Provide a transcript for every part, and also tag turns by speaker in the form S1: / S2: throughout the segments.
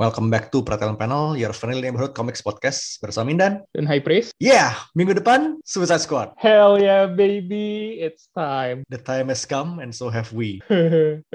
S1: Welcome back to Perhatian Panel, your friendly neighborhood comics podcast bersama Mindan.
S2: dan high praise.
S1: Yeah, minggu depan Suicide Squad.
S2: Hell yeah baby, it's time.
S1: The time has come and so have we.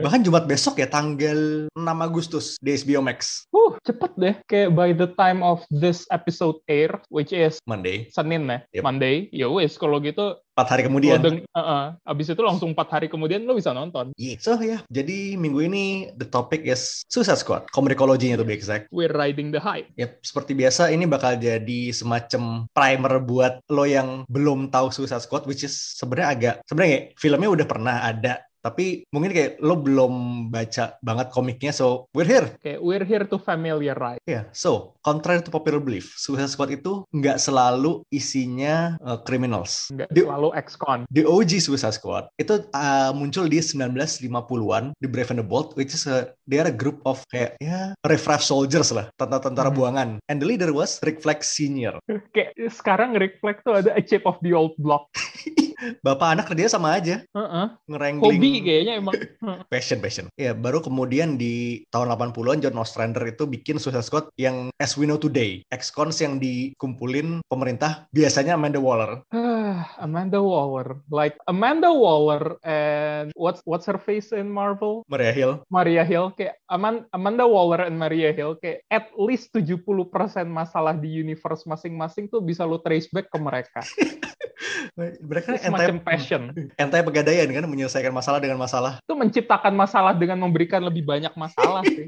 S1: Bahkan Jumat besok ya tanggal 6 Agustus di HBO Max.
S2: uh, cepet deh. Kayak by the time of this episode air, which is
S1: Monday,
S2: Senin
S1: Yep.
S2: ya, Monday. Ya wes kalau gitu,
S1: 4 hari
S2: lo
S1: kemudian.
S2: deng- uh-uh. abis itu langsung 4 hari kemudian lo bisa nonton.
S1: Yeah. So ya, jadi minggu ini the topic is Suicide Squad, komedikologinya to be exact.
S2: We're riding the hype.
S1: Yep, Ya, seperti biasa ini bakal jadi semacam primer buat lo yang belum tahu Suicide Squad, which is sebenarnya agak sebenarnya kayak filmnya udah pernah ada, tapi mungkin kayak lo belum baca banget komiknya, so we're here.
S2: Kayak we're here to familiarize.
S1: Ya, so contrary to popular belief, Suicide Squad itu nggak selalu isinya uh, criminals.
S2: Nggak
S1: Di-
S2: selalu ex-con.
S1: The OG Suicide Squad itu uh, muncul di 1950-an di Brave and the Bold, which is a, they are a group of kayak ya refresh soldiers lah, tentara-tentara
S2: Hmm.
S1: buangan. And the leader was Rick Flag Senior.
S2: Kayak sekarang Rick Flag tuh ada a chip of the old block.
S1: Bapak anak dia sama aja
S2: Uh-uh.
S1: ngerengling
S2: Hobi kayaknya emang. Uh-uh.
S1: passion passion. Ya baru kemudian di tahun 80-an John Ostrander itu bikin Suicide Squad yang as we know today, ex-cons yang dikumpulin pemerintah biasanya Amanda Waller.
S2: Ah, Amanda Waller, like Amanda Waller and what's what's her face in Marvel?
S1: Maria Hill
S2: Maria Hill kayak Aman- Amanda Waller and Maria Hill kayak at least 70% masalah di universe masing-masing tuh bisa lo trace back ke mereka.
S1: mereka entai,
S2: Itu semacam passion.
S1: entai pegadaian kan menyelesaikan masalah dengan masalah
S2: Itu menciptakan masalah dengan memberikan lebih banyak masalah sih.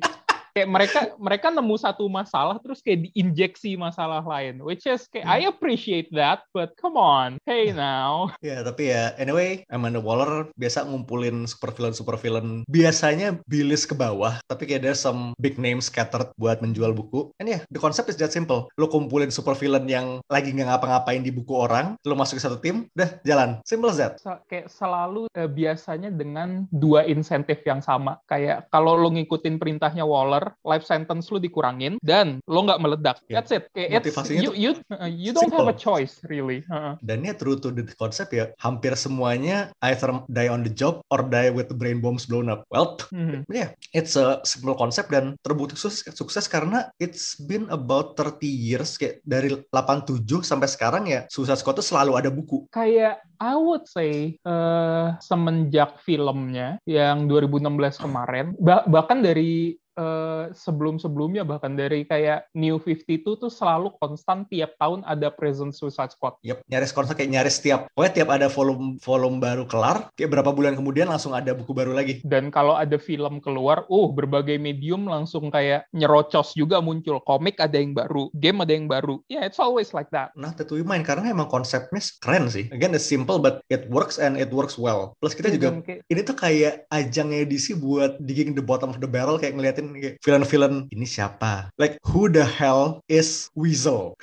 S2: kayak mereka mereka nemu satu masalah terus kayak diinjeksi masalah lain which is kayak I appreciate that but come on hey now
S1: ya tapi ya anyway Amanda Waller biasa ngumpulin super villain super villain biasanya bilis ke bawah tapi kayak ada some big name scattered buat menjual buku and ya the concept is that simple lo kumpulin super villain yang lagi nggak ngapa-ngapain di buku orang lo masuk ke satu tim udah jalan simple as that
S2: Se- kayak selalu eh, biasanya dengan dua insentif yang sama. Kayak kalau lo ngikutin perintahnya Waller, life sentence lo dikurangin dan lo nggak meledak.
S1: Ya.
S2: That's it. Kayak it's-
S1: Motivasinya
S2: you
S1: tuh
S2: you uh, you don't have a
S1: simple.
S2: choice really. Uh-uh.
S1: dan ya true to the concept ya hampir semuanya either die on the job or die with brain bombs blown up well
S2: Mhm.
S1: Yeah, it's a simple concept dan terbukti sukses, sukses karena it's been about 30 years kayak dari 87 sampai sekarang ya Suicide Squad tuh selalu ada buku.
S2: Kayak I would say eh, semenjak filmnya yang 2016 kemarin, bah- bahkan dari eh, sebelum-sebelumnya bahkan dari kayak New 52 tuh selalu konstan tiap tahun ada Present Suicide Squad.
S1: Yep, nyaris konsep kayak nyaris tiap pokoknya tiap ada volume volume baru kelar kayak berapa bulan kemudian langsung ada buku baru lagi.
S2: dan kalau ada film keluar, uh berbagai medium langsung kayak nyerocos juga muncul. Komik ada yang baru, game ada yang baru. Yeah, it's always like that.
S1: Nah, tentu main karena emang konsepnya keren sih. Again, it's simple but it works and it works well. Plus kita juga
S2: Dan kayak-
S1: ini tuh kayak ajangnya DC buat digging the bottom of the barrel kayak ngeliatin kayak villain-villain ini siapa? Like who the hell is Weasel?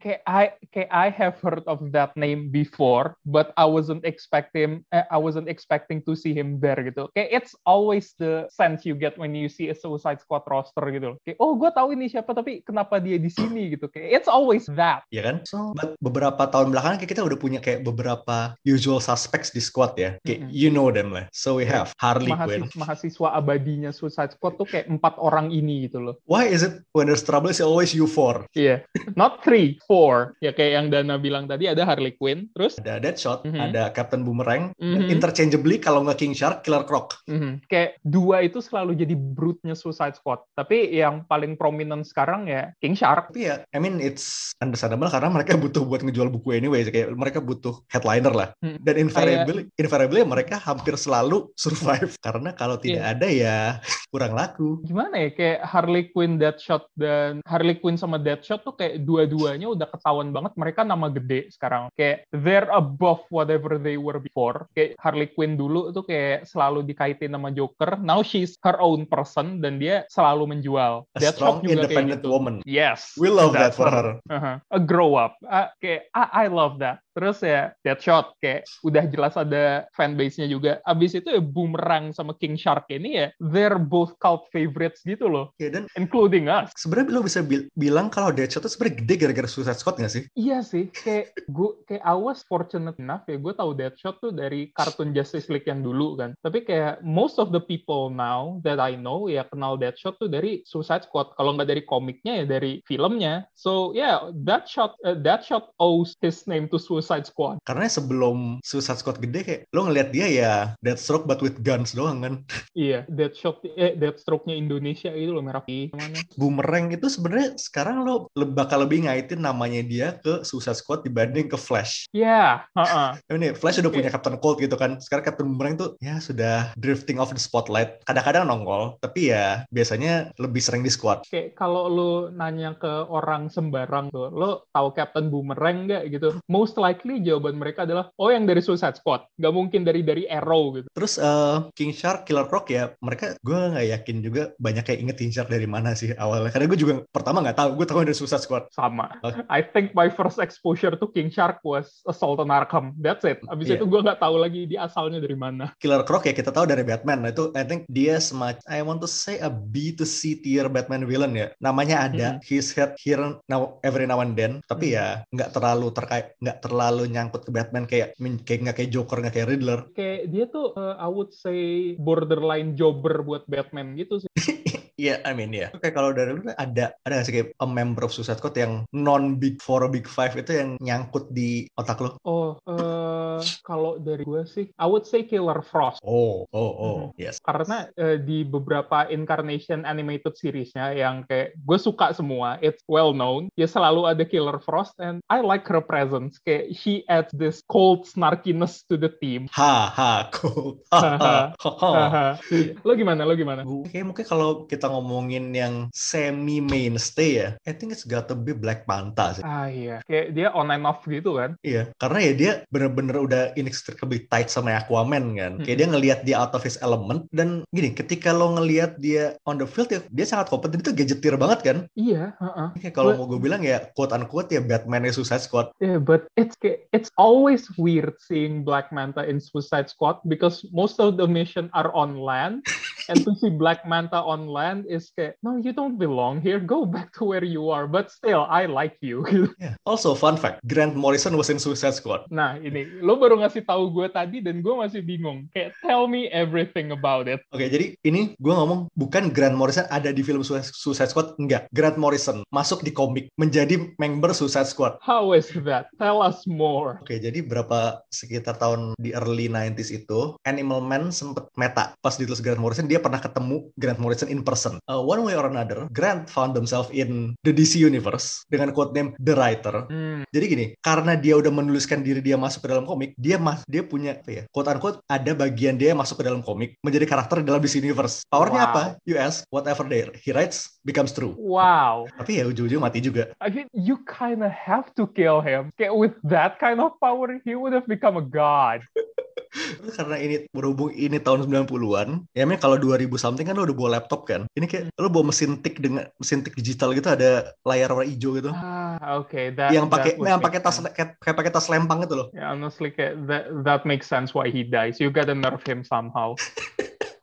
S2: kayak I kayak I have heard of that name before, but I wasn't expecting eh, I wasn't expecting to see him there gitu. Kayak it's always the sense you get when you see a Suicide Squad roster gitu. loh. Kayak oh gue tahu ini siapa tapi kenapa dia di sini gitu. Kayak it's always that.
S1: ya kan? So, but beberapa tahun belakangan kayak kita udah punya kayak beberapa usual suspects di squad ya. Kayak
S2: Mm-mm. Iya.
S1: you know them lah. So we have Harley Quinn.
S2: Mahasiswa, mahasiswa abadinya Suicide Squad tuh kayak empat orang ini gitu loh.
S1: Why is it when there's trouble it's always you four?
S2: Iya, not three, four. Ya kayak yang Dana bilang tadi ada Harley Quinn, terus
S1: Ada Deadshot,
S2: Mhm.
S1: ada Captain Boomerang, dan
S2: Mhm.
S1: interchangeably kalau nggak King Shark, Killer Croc.
S2: mhm, kayak dua itu selalu jadi brute-nya Suicide Squad. Tapi yang paling prominent sekarang ya King Shark.
S1: Tapi ya, I mean it's understandable karena mereka butuh buat ngejual buku anyway. Kayak mereka butuh headliner lah.
S2: Mm.
S1: Dan invariably, invariably mereka hampir selalu survive. Karena kalau tidak
S2: Iya.
S1: ada ya kurang laku.
S2: Gimana ya kayak Harley Quinn, Deadshot dan Harley Quinn sama Deadshot tuh kayak dua-duanya udah ketahuan banget mereka nama gede sekarang. Kayak they're above whatever they were before. Kayak Harley Quinn dulu tuh kayak selalu dikaitin sama Joker. Now she's her own person dan dia selalu menjual.
S1: A strong independent woman.
S2: gitu. Yes.
S1: We love that
S2: that's
S1: for
S2: her.
S1: her.
S2: Uh-huh. A grow up. Uh, kayak I, I love that. Terus ya Deadshot kayak udah jelas ada fanbase-nya juga. Abis itu ya Boomerang sama King Shark ini ya they're both cult favorites gitu loh,
S1: Ya, dan
S2: including us.
S1: sebenarnya lo bisa bil- bilang kalau Deadshot itu sebenarnya gede gara-gara Suicide Squad nggak sih?
S2: Iya sih, kayak gue kayak I was fortunate enough ya gue tahu Deadshot tuh dari kartun Justice League yang dulu kan. Tapi kayak most of the people now that I know ya kenal Deadshot tuh dari Suicide Squad. Kalau nggak dari komiknya ya dari filmnya. So yeah, Deadshot uh, Deadshot owes his name to Suicide Squad.
S1: Karena sebelum Suicide Squad gede kayak lo ngelihat dia ya Deathstroke but with guns doang kan.
S2: Iya, Deadshot eh Deathstroke-nya Indonesia itu loh merah putih. namanya.
S1: Boomerang itu sebenarnya sekarang lo le- bakal lebih ngaitin namanya dia ke Suicide Squad dibanding ke Flash.
S2: Iya, heeh.
S1: Ini Flash udah
S2: Oke.
S1: punya Captain Cold gitu kan. Sekarang Captain Boomerang tuh ya sudah drifting off the spotlight. Kadang-kadang nongol, tapi ya biasanya lebih sering di squad.
S2: kayak kalau lu nanya ke orang sembarang tuh, lo tahu Captain Boomerang nggak gitu? Most likely jawaban mereka adalah, oh yang dari Suicide Squad, nggak mungkin dari dari Arrow gitu.
S1: Terus eh, King Shark, Killer Croc ya mereka gue nggak yakin juga banyak yang inget King Shark dari mana sih awalnya. Karena gue juga pertama nggak tahu, gue tahu dari Suicide Squad.
S2: Sama.
S1: Oke.
S2: I think my first exposure to King Shark was Assault on Arkham. That's it. Abis
S1: Iya.
S2: itu gue nggak tahu lagi dia asalnya dari mana.
S1: Killer Croc ya kita tahu dari Batman. Nah, itu I think dia semacam I want to say a B to C tier Batman villain ya. Namanya ada, he's heard here now every now and then, tapi ya nggak terlalu terkait nggak terlalu nyangkut ke Batman kayak min- kayak nggak kayak Joker nggak kayak Riddler.
S2: Kayak dia tuh, eh, I would say borderline jobber buat Batman gitu sih.
S1: Iya, I mean ya. Kayak kalau dari lu ada ada nggak sih kayak a member of Suicide Squad yang non big four big five itu yang nyangkut di otak lo?
S2: Oh, eh, kalau dari gue sih, I would say Killer Frost.
S1: Oh, oh, oh, yes.
S2: karena eh, di beberapa incarnation animated seriesnya yang kayak gue suka semua it's well known ya selalu ada Killer Frost and I like her presence kayak she adds this cold snarkiness to the team
S1: Ha ha cool. Ha ha. ha, ha.
S2: Haha. lo gimana lo gimana
S1: Gue kayak mungkin kalau kita ngomongin yang semi mainstay ya, I think it's gotta be Black Manta sih.
S2: ah iya kayak dia on and off gitu kan
S1: Iya, karena ya dia bener-bener udah inextricably tight sama Aquaman kan. Kayak dia ngelihat dia out of his element dan gini, ketika lo ngelihat dia on the field ya, dia sangat kompeten itu gadgeteer banget kan.
S2: iya heeh.
S1: Kayak kalau mau gue bilang ya quote unquote ya Batman ya Suicide Squad.
S2: Yeah, but it's kayak- it's always weird seeing Black Manta in Suicide Squad because most of the mission are on land, and to see Black Manta on land is kayak, no, you don't belong here. Go back to where you are. But still, I like you.
S1: Yeah. Ya, Also fun fact, Grant Morrison was in Suicide Squad.
S2: nah, ini lo baru ngasih tahu gue tadi dan gue masih bingung. Kayak tell me everything about it.
S1: Oke, jadi ini gue ngomong bukan Grant Morrison ada di film Sui- Suicide Squad, enggak. Grant Morrison masuk di komik menjadi member Suicide Squad.
S2: How is that? Tell us more.
S1: Oke, jadi berapa sekitar tahun di early 90s itu, Animal Man sempet meta. Pas ditulis Grant Morrison, dia pernah ketemu Grant Morrison in person. Uh, one way or another, Grant found himself in the DC Universe dengan code name The Writer.
S2: Hmm,
S1: Jadi gini, karena dia udah menuliskan diri dia masuk ke dalam komik, dia mas dia punya apa ya? Quote unquote ada bagian dia yang masuk ke dalam komik menjadi karakter dalam DC Universe. Powernya
S2: Wow.
S1: apa? US whatever there he writes becomes true.
S2: wow.
S1: Tapi ya ujung-ujung mati juga.
S2: I mean, you kind of have to kill him. Kayak with that kind of power, he would have become a god.
S1: Terus karena ini berhubung ini tahun 90-an, ya men kalau 2000 something kan lo udah bawa laptop kan. Ini kayak lo bawa mesin tik dengan mesin tik digital gitu ada layar warna hijau gitu.
S2: Ah, okay. That,
S1: yang
S2: that
S1: pakai
S2: would
S1: yang
S2: make
S1: pakai tas
S2: sense.
S1: kayak kayak pakai tas lempang itu loh.
S2: Yeah, honestly, kayak that that makes sense why he dies. You gotta nerf him somehow.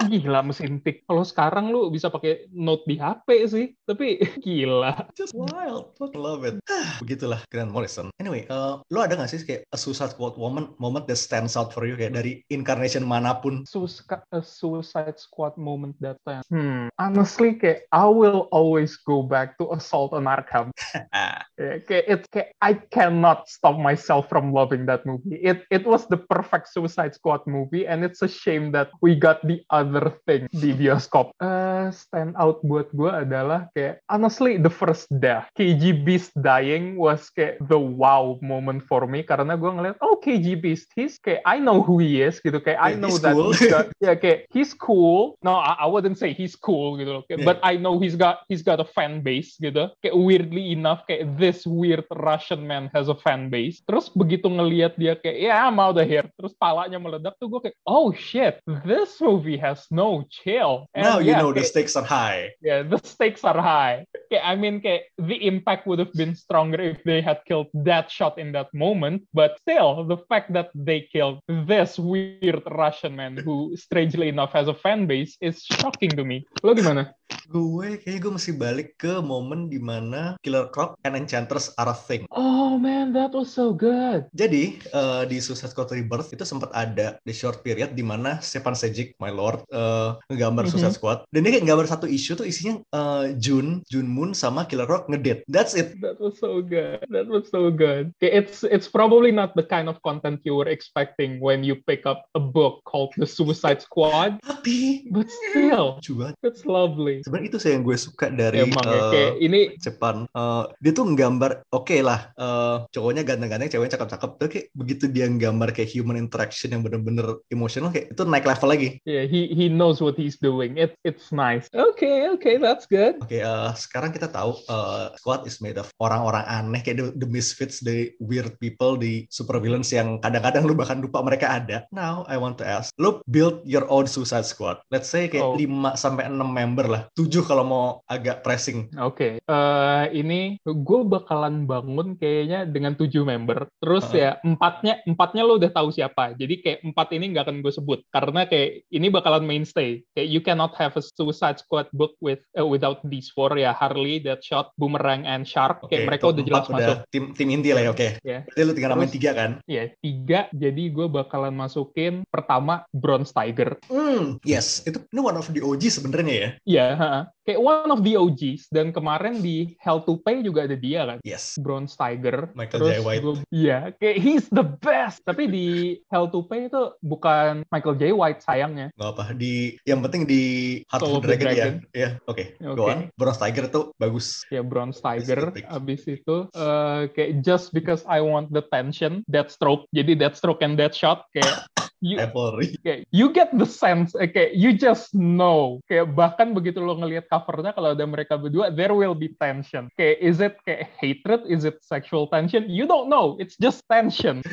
S2: gila mesin tik. Kalau sekarang lu bisa pakai note di HP sih, tapi gila.
S1: Just wild, fuck Iya. love it. Begitulah Grant Morrison. Anyway, uh, lo ada gak sih kayak a Suicide Squad moment, moment that stands out for you kayak dari incarnation manapun?
S2: Suska- a Suicide Squad moment that time. Hmm, honestly, kayak I will always go back to Assault on Arkham.
S1: Ah,
S2: Yeah, kayak it's kayak I cannot stop myself from loving that movie. It it was the perfect Suicide Squad movie, and it's a shame that we got the other thing di bioskop. Eh, stand out buat gue adalah kayak honestly the first death KG Beast dying was kayak the wow moment for me karena gue ngeliat oh KG Beast he's kayak I know who he is gitu kayak I
S1: Yeah,
S2: know
S1: he's
S2: that
S1: cool.
S2: he's got- yeah kayak he's cool. No, I, I wouldn't say he's cool gitu loh.
S1: Yeah.
S2: Kayak, But I know he's got he's got a fan base gitu. Kayak weirdly enough kayak this weird Russian man has a fan base. Terus begitu ngelihat dia kayak, yeah, I'm out of here. Terus palanya meledak tuh gue kayak, oh shit, this movie has no chill. And
S1: Now you
S2: yeah,
S1: know the
S2: Eh, iya, kayak-
S1: stakes are high.
S2: Yeah, the stakes are high. Okay, I mean, okay, the impact would have been stronger if they had killed that shot in that moment. But still, the fact that they killed this weird Russian man who, strangely enough, has a fan base is shocking to me. Lo gimana?
S1: Gue kayaknya gue mesti balik ke momen dimana Killer Croc and Enchantress are a thing.
S2: Oh man, that was so good.
S1: Jadi eh, di Suicide Squad Rebirth itu sempat ada the short period di mana Stepan Sejic, my lord, eh, ngegambar
S2: Mhm.
S1: Suicide Squad. Dan dia kayak gambar satu isu tuh isinya eh, June, June Moon sama Killer Croc ngedate. That's it.
S2: That was so good. That was so good. Okay, it's it's probably not the kind of content you were expecting when you pick up a book called The Suicide Squad,
S1: Tapi
S2: but still,
S1: lucu banget.
S2: it's lovely.
S1: Sebenarnya itu sih yang gue suka dari
S2: Emang ya,
S1: eh,
S2: kayak ini
S1: Jepang. Eh, dia tuh nggambar, oke lah, eh, cowoknya ganteng-ganteng, ceweknya cakep-cakep. Tapi kayak begitu dia nggambar kayak human interaction yang bener-bener emosional, kayak itu naik level lagi.
S2: Yeah, he he knows what he's doing. It it's nice. Okay, okay, that's good.
S1: Oke, eh, sekarang kita tahu eh, squad is made of orang-orang aneh kayak the, the misfits, the weird people, the supervillains yang kadang-kadang lu bahkan lupa mereka ada. Now I want to ask, lu build your own suicide squad. Let's say kayak
S2: Oh.
S1: 5 sampai 6 member lah. 7 kalau mau agak pressing.
S2: Oke, eh, ini gue bakalan bangun kayaknya dengan tujuh member. Terus
S1: Heeh.
S2: ya empatnya empatnya lo udah tahu siapa. Jadi kayak empat ini nggak akan gue sebut karena kayak ini bakalan mainstay. Kayak you cannot have a Suicide Squad book with eh, without these four ya Harley, Deadshot, Boomerang, and Shark.
S1: Oke,
S2: Kayak mereka
S1: top
S2: udah
S1: empat
S2: jelas masuk.
S1: Tim tim inti lah ya, oke.
S2: Ya.
S1: Berarti lu tinggal namain
S2: Terus-
S1: 3 kan?
S2: Ya tiga. Jadi gue bakalan masukin pertama Bronze Tiger.
S1: Hmm, yes. Itu ini one of the OG sebenarnya ya.
S2: Iya, heeh. kayak one of the OGs dan kemarin di Hell to Pay juga ada dia kan.
S1: Yes.
S2: Bronze Tiger.
S1: Michael J. White.
S2: gua- Iya, kayak he's the best. Tapi di Hell to Pay itu bukan Michael J. White sayangnya.
S1: Gak apa di yang penting di Heart
S2: Soul
S1: of
S2: of
S1: the
S2: the
S1: Dragon,
S2: Dragon.
S1: ya. Ya, oke.
S2: Oke.
S1: Go on. Bronze Tiger tuh bagus.
S2: Ya Bronze
S1: Abis
S2: Tiger.
S1: itu-
S2: Abis itu eh, kayak just because I want the tension, Deathstroke. Jadi Deathstroke and Deathshot kayak you,
S1: Cavalry.
S2: Kayak you get the sense, eh, kayak you just know. Kayak bahkan begitu lo ngelihat covernya kalau ada mereka berdua, there will be tension. Kayak is it kayak hatred, is it sexual tension? You don't know. It's just tension.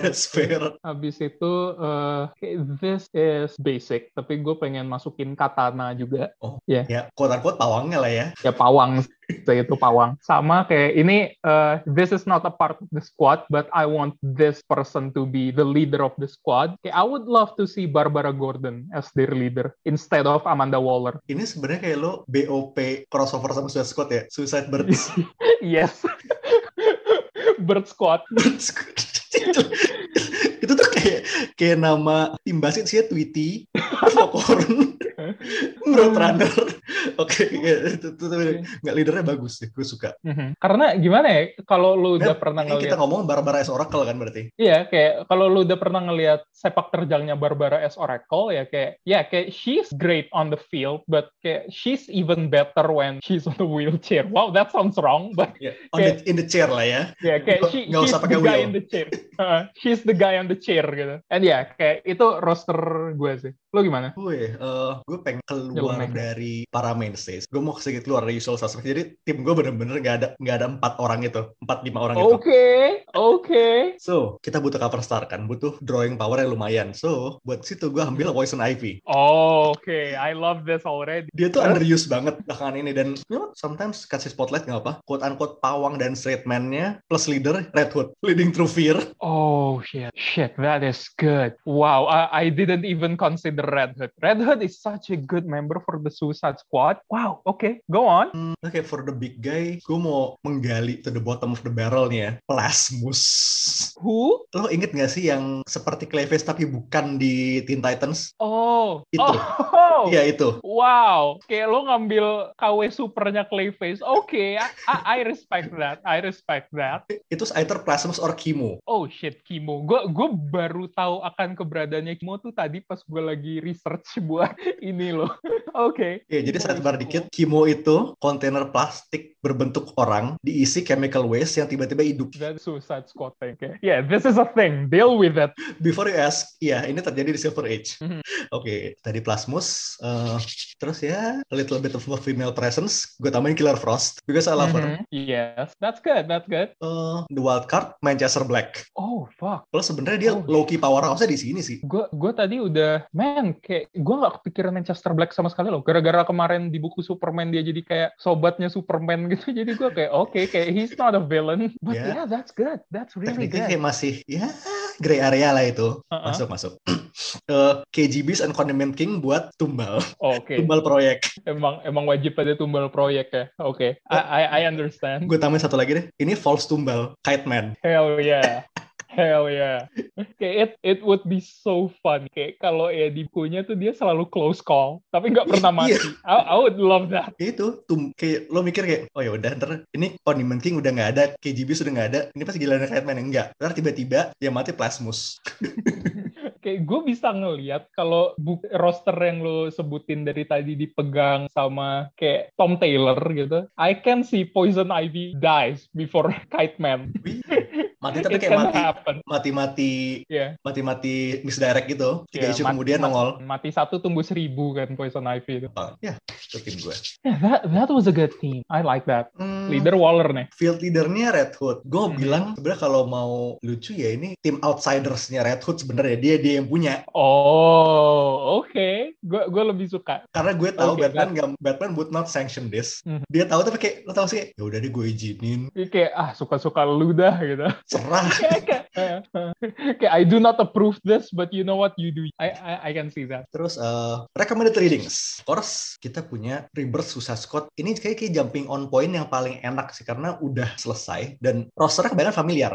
S1: That's fair.
S2: Habis itu eh, kayak this is basic, tapi gue pengen masukin katana juga.
S1: Ya, quote-unquote pawangnya lah ya.
S2: Ya pawang, saya itu pawang. Sama kayak ini eh, this is not a part of the squad, but I want this person to be the leader of the squad. Kayak I would love to see Barbara Gordon as their leader instead of Amanda Waller.
S1: Ini sebenarnya kayak lo BOP crossover sama Suicide Squad ya? Suicide Birds.
S2: yes. Bird Squad.
S1: Birds Squad. itu, itu tuh kayak kayak nama tim basket sih ya, Tweety, Foghorn,
S2: Hmm.
S1: Roadrunner. Oke, ya, itu itu- itu- nggak leadernya bagus sih, gue suka.
S2: Mhm. Karena gimana ya kalau lu
S1: Nah,
S2: udah pernah
S1: Ini
S2: ngeliat
S1: kita ngomong Barbara S. Oracle kan berarti.
S2: Iya, kayak kalau lu udah pernah ngelihat sepak terjangnya Barbara S. Oracle ya kayak ya kayak she's great on the field but kayak she's even better when she's on the wheelchair. Wow, that sounds wrong but
S1: On
S2: Iya.
S1: the- in the chair lah ya.
S2: ya kayak
S1: Nggak-
S2: she,
S1: nggak
S2: she's
S1: usah pakai
S2: the guy
S1: wheel.
S2: in the chair. Uh, she's the guy on the chair gitu. And ya kayak itu roster gue sih. Lu gimana?
S1: Gue, eh, gue pengen
S2: Iya,
S1: keluar
S2: Filmmaker.
S1: dari para mainstays. Gue mau sedikit keluar dari usual suspect. Jadi tim gue bener-bener nggak ada nggak ada empat orang itu, empat lima orang itu.
S2: Oh. Oke, oke.
S1: So, kita butuh cover star kan, butuh drawing power yang lumayan. So, buat situ gue ambil Poison Ivy.
S2: Oh, Oke, I love this already.
S1: Dia tuh underused banget belakangan ini dan you know, sometimes kasih spotlight nggak apa. Quote unquote pawang dan straight man-nya plus leader Red Hood leading through fear.
S2: Oh shit, shit, that is good. Wow, I, I didn't even consider Red Hood. Red Hood is such a good member for the Suicide Squad. Wow, okay, go on.
S1: Hmm, Oke, for the big guy, gue mau menggali to the bottom of the barrel nih ya. Plasmus.
S2: Who?
S1: Lo inget gak sih yang seperti Clevis tapi bukan di Teen Titans?
S2: Oh,
S1: Itu.
S2: oh.
S1: Iya itu.
S2: Wow, kayak lo ngambil KW supernya Clayface. Oke, I- I, I respect that. I respect that.
S1: Itu either Plasmus or Kimo.
S2: Oh shit, Kimo. Gue gue baru tahu akan keberadaannya Kimo tuh tadi pas gue lagi research buat ini loh. Oke.
S1: Ya, jadi sidebar dikit, Kimo itu kontainer plastik berbentuk orang diisi chemical waste yang tiba-tiba hidup.
S2: That Suicide Squad thing. Okay. Yeah, this is a thing. Deal with it.
S1: Before you ask, ya ini terjadi di Silver Age.
S2: Mhm.
S1: Oke, tadi Plasmus, eh, terus ya a little bit of a female presence. Gue tambahin Killer Frost because I love her.
S2: Mhm. Yes, that's good. That's good.
S1: Eh, the Wild Card, Manchester Black.
S2: Oh fuck.
S1: Plus sebenarnya dia
S2: Oh.
S1: Loki powerhouse-nya di sini sih.
S2: Gue gue tadi udah man kayak gue nggak kepikiran Manchester Black sama sekali loh. Gara-gara kemarin di buku Superman dia jadi kayak sobatnya Superman gitu. Jadi gue kayak oke kayak he's not a villain. But
S1: Yeah.
S2: yeah, that's good. That's really
S1: Tekniknya
S2: good.
S1: kayak masih ya gray area lah itu.
S2: Uh-uh.
S1: Masuk masuk. Eh, KGBs and Condiment King buat tumbal,
S2: Oke.
S1: tumbal proyek.
S2: Emang emang wajib ada tumbal proyek ya. Oke. I, I I understand.
S1: Gue tambahin satu lagi deh. Ini false tumbal, Kite Man.
S2: Hell yeah. Hell yeah. Kayak it, it would be so fun. Kayak kalau ya di bukunya tuh dia selalu close call. Tapi nggak pernah mati.
S1: Iya.
S2: I, I would love that.
S1: Ya itu tum kayak lo mikir kayak oh ya udah ntar ini Condiment King udah nggak ada KGB sudah nggak ada ini pasti gila Kite Man enggak ntar tiba-tiba yang mati Plasmus
S2: Kayak gue bisa ngeliat kalau bu- roster yang lo sebutin dari tadi dipegang sama kayak Tom Taylor gitu. I can see Poison Ivy dies before Kite Man.
S1: Wih, mati tapi
S2: It
S1: kayak
S2: can
S1: mati
S2: happen.
S1: mati-mati
S2: Yeah.
S1: mati-mati misdirect gitu tiga
S2: Yeah,
S1: isu
S2: iya, mati-
S1: kemudian nongol
S2: Mati satu tumbuh seribu kan Poison Ivy itu.
S1: Oh, ya itu tim gue
S2: Yeah, that, that was a good team. I like that.
S1: Hmm,
S2: Leader Waller nih.
S1: field leadernya Red Hood gue
S2: Hmm.
S1: bilang sebenarnya kalau mau lucu ya ini tim outsidersnya Red Hood sebenarnya dia dia yang punya
S2: Oh, oke. Gue gue lebih suka.
S1: karena gue tahu
S2: Oke,
S1: Batman nggak Batman would not sanction this
S2: Hmm.
S1: dia tahu tapi kayak lo tahu sih ya udah deh gue izinin
S2: Ini Kayak ah suka-suka lu dah gitu.
S1: serah
S2: Kayak- kayak eh, eh. Kayak, I do not approve this, but you know what you do. I I, I can see that.
S1: Terus eh, recommended readings. Of course, kita punya Rebirth Suicide Squad. Ini kayak, kayak jumping on point yang paling enak sih karena udah selesai dan rosternya kebanyakan familiar.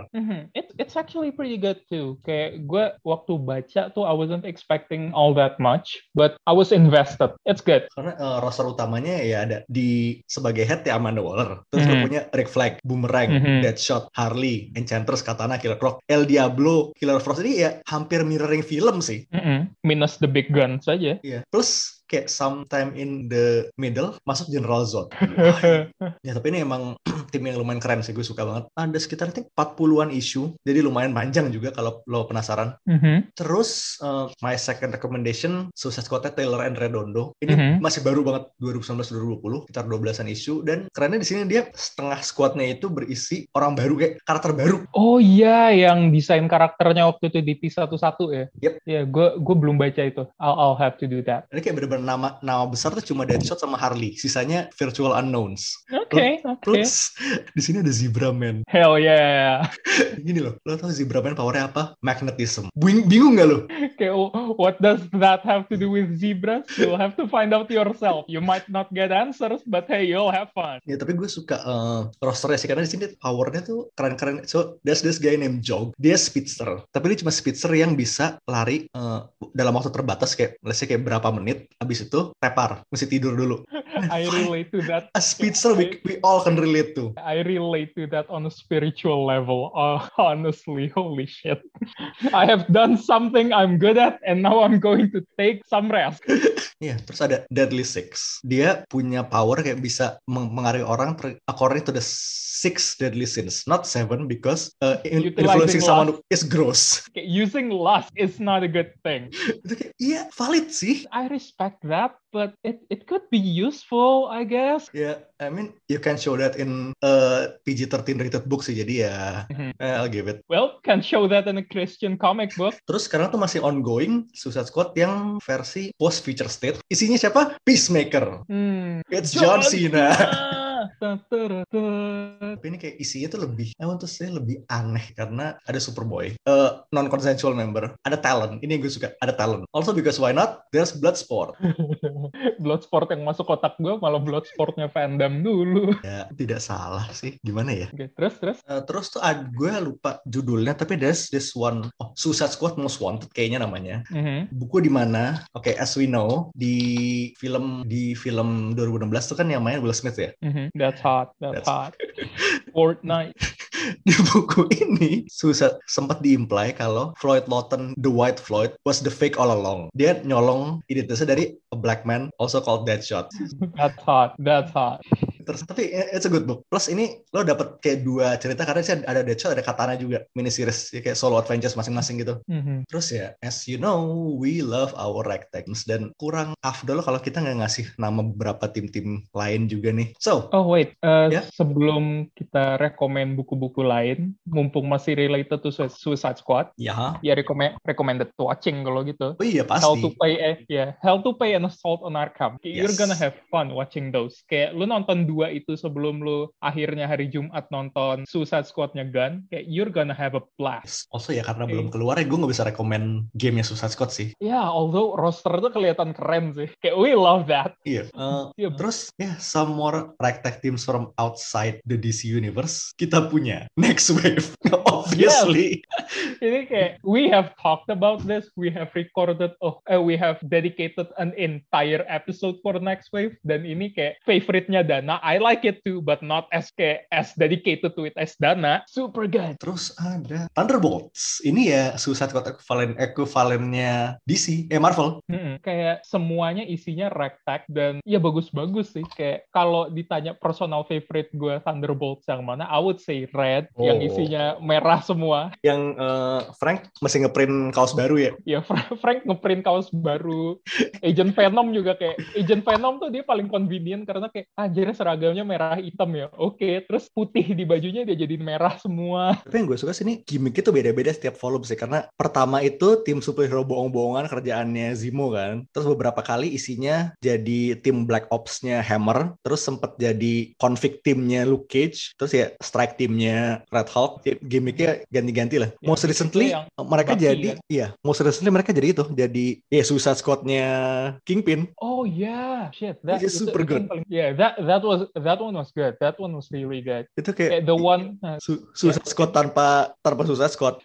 S2: It, it's actually pretty good too. Kayak gue waktu baca tuh I wasn't expecting all that much, but I was invested. It's good.
S1: Karena eh, roster utamanya ya ada di sebagai head ya Amanda Waller. Terus lo
S2: Mhm.
S1: punya Rick Flag, Boomerang,
S2: Mhm.
S1: Deadshot, Harley, Enchantress, Katana, Killer Croc, El Diablo, Killer Frost. Ini ya hampir mirroring film sih.
S2: Mm-mm. Mm-hmm. Minus the big gun saja.
S1: Iya. Plus kayak sometime in the middle masuk General Zod. Ya tapi ini emang tim yang lumayan keren sih gue suka banget. Ada sekitar think 40-an isu. Jadi lumayan panjang juga kalau lo penasaran.
S2: Mhm.
S1: Terus eh, my second recommendation Suicide Squad Taylor and Redondo. Ini
S2: Mhm.
S1: masih baru banget 2019-2020 sekitar 12-an isu dan kerennya di sini dia setengah squadnya itu berisi orang baru kayak karakter baru.
S2: Oh iya, yang desain karakternya waktu itu di T11 ya.
S1: Yep.
S2: Ya, gue gue belum baca itu. I'll, I'll have to do that.
S1: Ini kayak bener-bener nama nama besar tuh cuma Deadshot sama Harley. Sisanya virtual unknowns.
S2: Oke, oke.
S1: Plus di sini ada Zebra Man.
S2: Hell yeah.
S1: Gini loh, lo tau Zebra Man powernya apa? Magnetism. Bing- bingung nggak lo?
S2: Okay, what does that have to do with zebras? You'll have to find out yourself. You might not get answers, but hey, you'll have fun.
S1: Ya tapi gue suka eh, rosternya sih karena di sini powernya tuh keren-keren. So there's this guy named Jog, dia speedster. Tapi dia cuma speedster yang bisa lari eh, dalam waktu terbatas kayak let's say kayak berapa menit. Habis itu tepar, mesti tidur dulu.
S2: I relate to that.
S1: A speedster we, we all can relate to.
S2: I relate to that on a spiritual level. Uh, honestly, holy shit. I have done something I'm good at, and now I'm going to take some rest.
S1: Iya, terus ada Deadly Six. Dia punya power kayak bisa meng- mengaruhi orang per- according to the six deadly sins, not seven because eh, in-
S2: Utilizing
S1: influencing
S2: lust.
S1: someone is gross.
S2: Okay, using lust is not a good thing.
S1: Itu kayak iya valid sih.
S2: I respect that, but it, it could be useful, I guess.
S1: Ya, I mean you can show that in uh, PG-13 rated book sih jadi ya
S2: Mhm.
S1: eh, I'll give it.
S2: Well, can show that in a Christian comic book.
S1: Terus sekarang tuh masih ongoing Suicide Squad yang versi post future state. Isinya siapa? Peacemaker.
S2: Hmm.
S1: It's John, Cena.
S2: Dun, dun, dun.
S1: Tapi ini kayak isinya tuh lebih, I want to say lebih aneh karena ada Superboy, eh, non-consensual member, ada talent. Ini yang gue suka, ada talent. Also because why not? There's Bloodsport.
S2: Bloodsport yang masuk kotak gue malah Bloodsportnya fandom dulu.
S1: Ya tidak salah sih, gimana ya?
S2: Oke, terus terus.
S1: Eh, terus tuh ad- gue lupa judulnya, tapi there's this one, oh, Suicide Squad Most Wanted kayaknya namanya.
S2: Mhm.
S1: buku di mana oke as we know di film di film 2016 itu kan yang main Will Smith ya
S2: Mhm. That's mm-hmm. hot. That's,
S1: That's-
S2: hot. Fortnite.
S1: di buku ini susah sempat diimply kalau Floyd Lawton the White Floyd was the fake all along dia nyolong identitasnya dari a black man also called Deadshot
S2: That's hot. That's hot.
S1: terus tapi eh, it's a good book plus ini lo dapet kayak dua cerita karena sih ada Deadshot ada Katana juga mini series ya, kayak solo adventures masing-masing gitu
S2: Mhm.
S1: Terus ya, as you know, we love our ragtags dan kurang afdol kalau kita nggak ngasih nama beberapa tim-tim lain juga nih. So,
S2: Oh wait, Eh,
S1: Ya?
S2: sebelum kita rekomend buku-buku lain, mumpung masih related to Sui- Suicide Squad,
S1: ya,
S2: ya recommend recommended to watching kalau gitu.
S1: oh iya
S2: How to
S1: pasti.
S2: play, eh, yeah, How to play an assault on Arkham. Kayak You're
S1: Yes.
S2: gonna have fun watching those. Kayak lu nonton dua itu sebelum lu akhirnya hari Jumat nonton Suicide Squad-nya Gun, kayak you're gonna have a blast.
S1: Also ya karena
S2: Oke.
S1: belum keluar ya gue nggak bisa rekomen gamenya Suicide Squad sih.
S2: Ya, although roster tuh kelihatan keren sih. Kayak we love that.
S1: Iya. Eh,
S2: Iya.
S1: terus ya some more ragtag teams from outside the DC universe kita punya next wave obviously.
S2: Ini kayak we have talked about this, we have recorded, oh, eh, we have dedicated an entire episode for Next Wave. Dan ini kayak favorite-nya Dana. I like it too, but not as kayak as dedicated to it as Dana. Super good.
S1: Terus ada Thunderbolts. Ini ya Suicide Squad ekivalen ekuivalennya DC eh Marvel.
S2: Mm-mm. Kayak semuanya isinya ragtag dan ya bagus-bagus sih. Kayak kalau ditanya personal favorite gue Thunderbolts yang mana, I would say Red yang
S1: Oh.
S2: isinya merah semua.
S1: yang eh, Frank masih ngeprint kaos baru ya.
S2: Ya Fra- Frank ngeprint kaos baru. Agent Venom juga kayak Agent Venom tuh dia paling convenient karena kayak anjir seragamnya merah hitam ya. Oke, terus putih di bajunya dia jadiin merah semua.
S1: Tapi yang gue suka sini gimmick itu beda-beda setiap volume sih karena pertama itu tim superhero bohong-bohongan kerjaannya Zemo kan. Terus beberapa kali isinya jadi tim Black Ops-nya Hammer, terus sempet jadi konflik timnya Luke Cage, terus ya strike timnya Red Hulk. Ya, Gimmicknya ganti-ganti lah.
S2: Ya,
S1: Most recently
S2: yang
S1: mereka
S2: Bucky, kan.
S1: jadi iya, most recently mereka jadi itu, jadi ya Suicide Squad-nya Kingpin.
S2: Oh yeah, shit. That
S1: Which is
S2: itu-
S1: super
S2: itu yang
S1: good.
S2: paling- yeah, that that was that one was good. That one was really good.
S1: Itu kayak
S2: Kayak the one nah,
S1: Su- Suicide Squad tanpa tanpa Suicide Squad.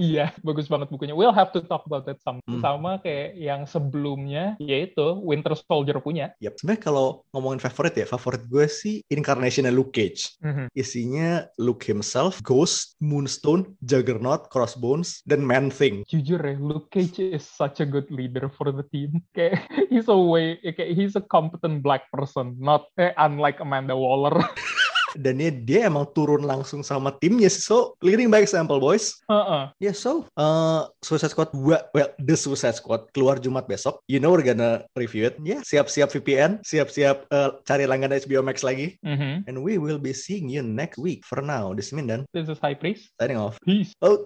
S2: Iya, bagus banget bukunya. We'll have to talk about that some.
S1: Hmm.
S2: Sama kayak yang sebelumnya, yaitu Winter Soldier punya.
S1: Yap. Sebenarnya kalau ngomongin favorit ya, favorit gue sih incarnation Luke Cage. Isinya Luke himself, Ghost, Moonstone, Juggernaut, Crossbones, dan Man Thing.
S2: Jujur ya, Luke Cage is such a good leader for the team. Kayak he's a way, kayak he's a competent black person, not eh, unlike Amanda Waller.
S1: Dan dia, dia emang turun langsung sama timnya sih. So, leading by example, boys. Ya,
S2: Heeh.
S1: so, uh, Suicide Squad, dua- well, The Suicide Squad, keluar Jumat besok. You know we're gonna review it. Ya, siap-siap VPN, siap-siap uh, cari langganan HBO Max lagi.
S2: Mhm.
S1: And we will be seeing you next week. For now, this is Mindan,
S2: This is High Priest.
S1: signing off.
S2: Peace.
S1: Oh,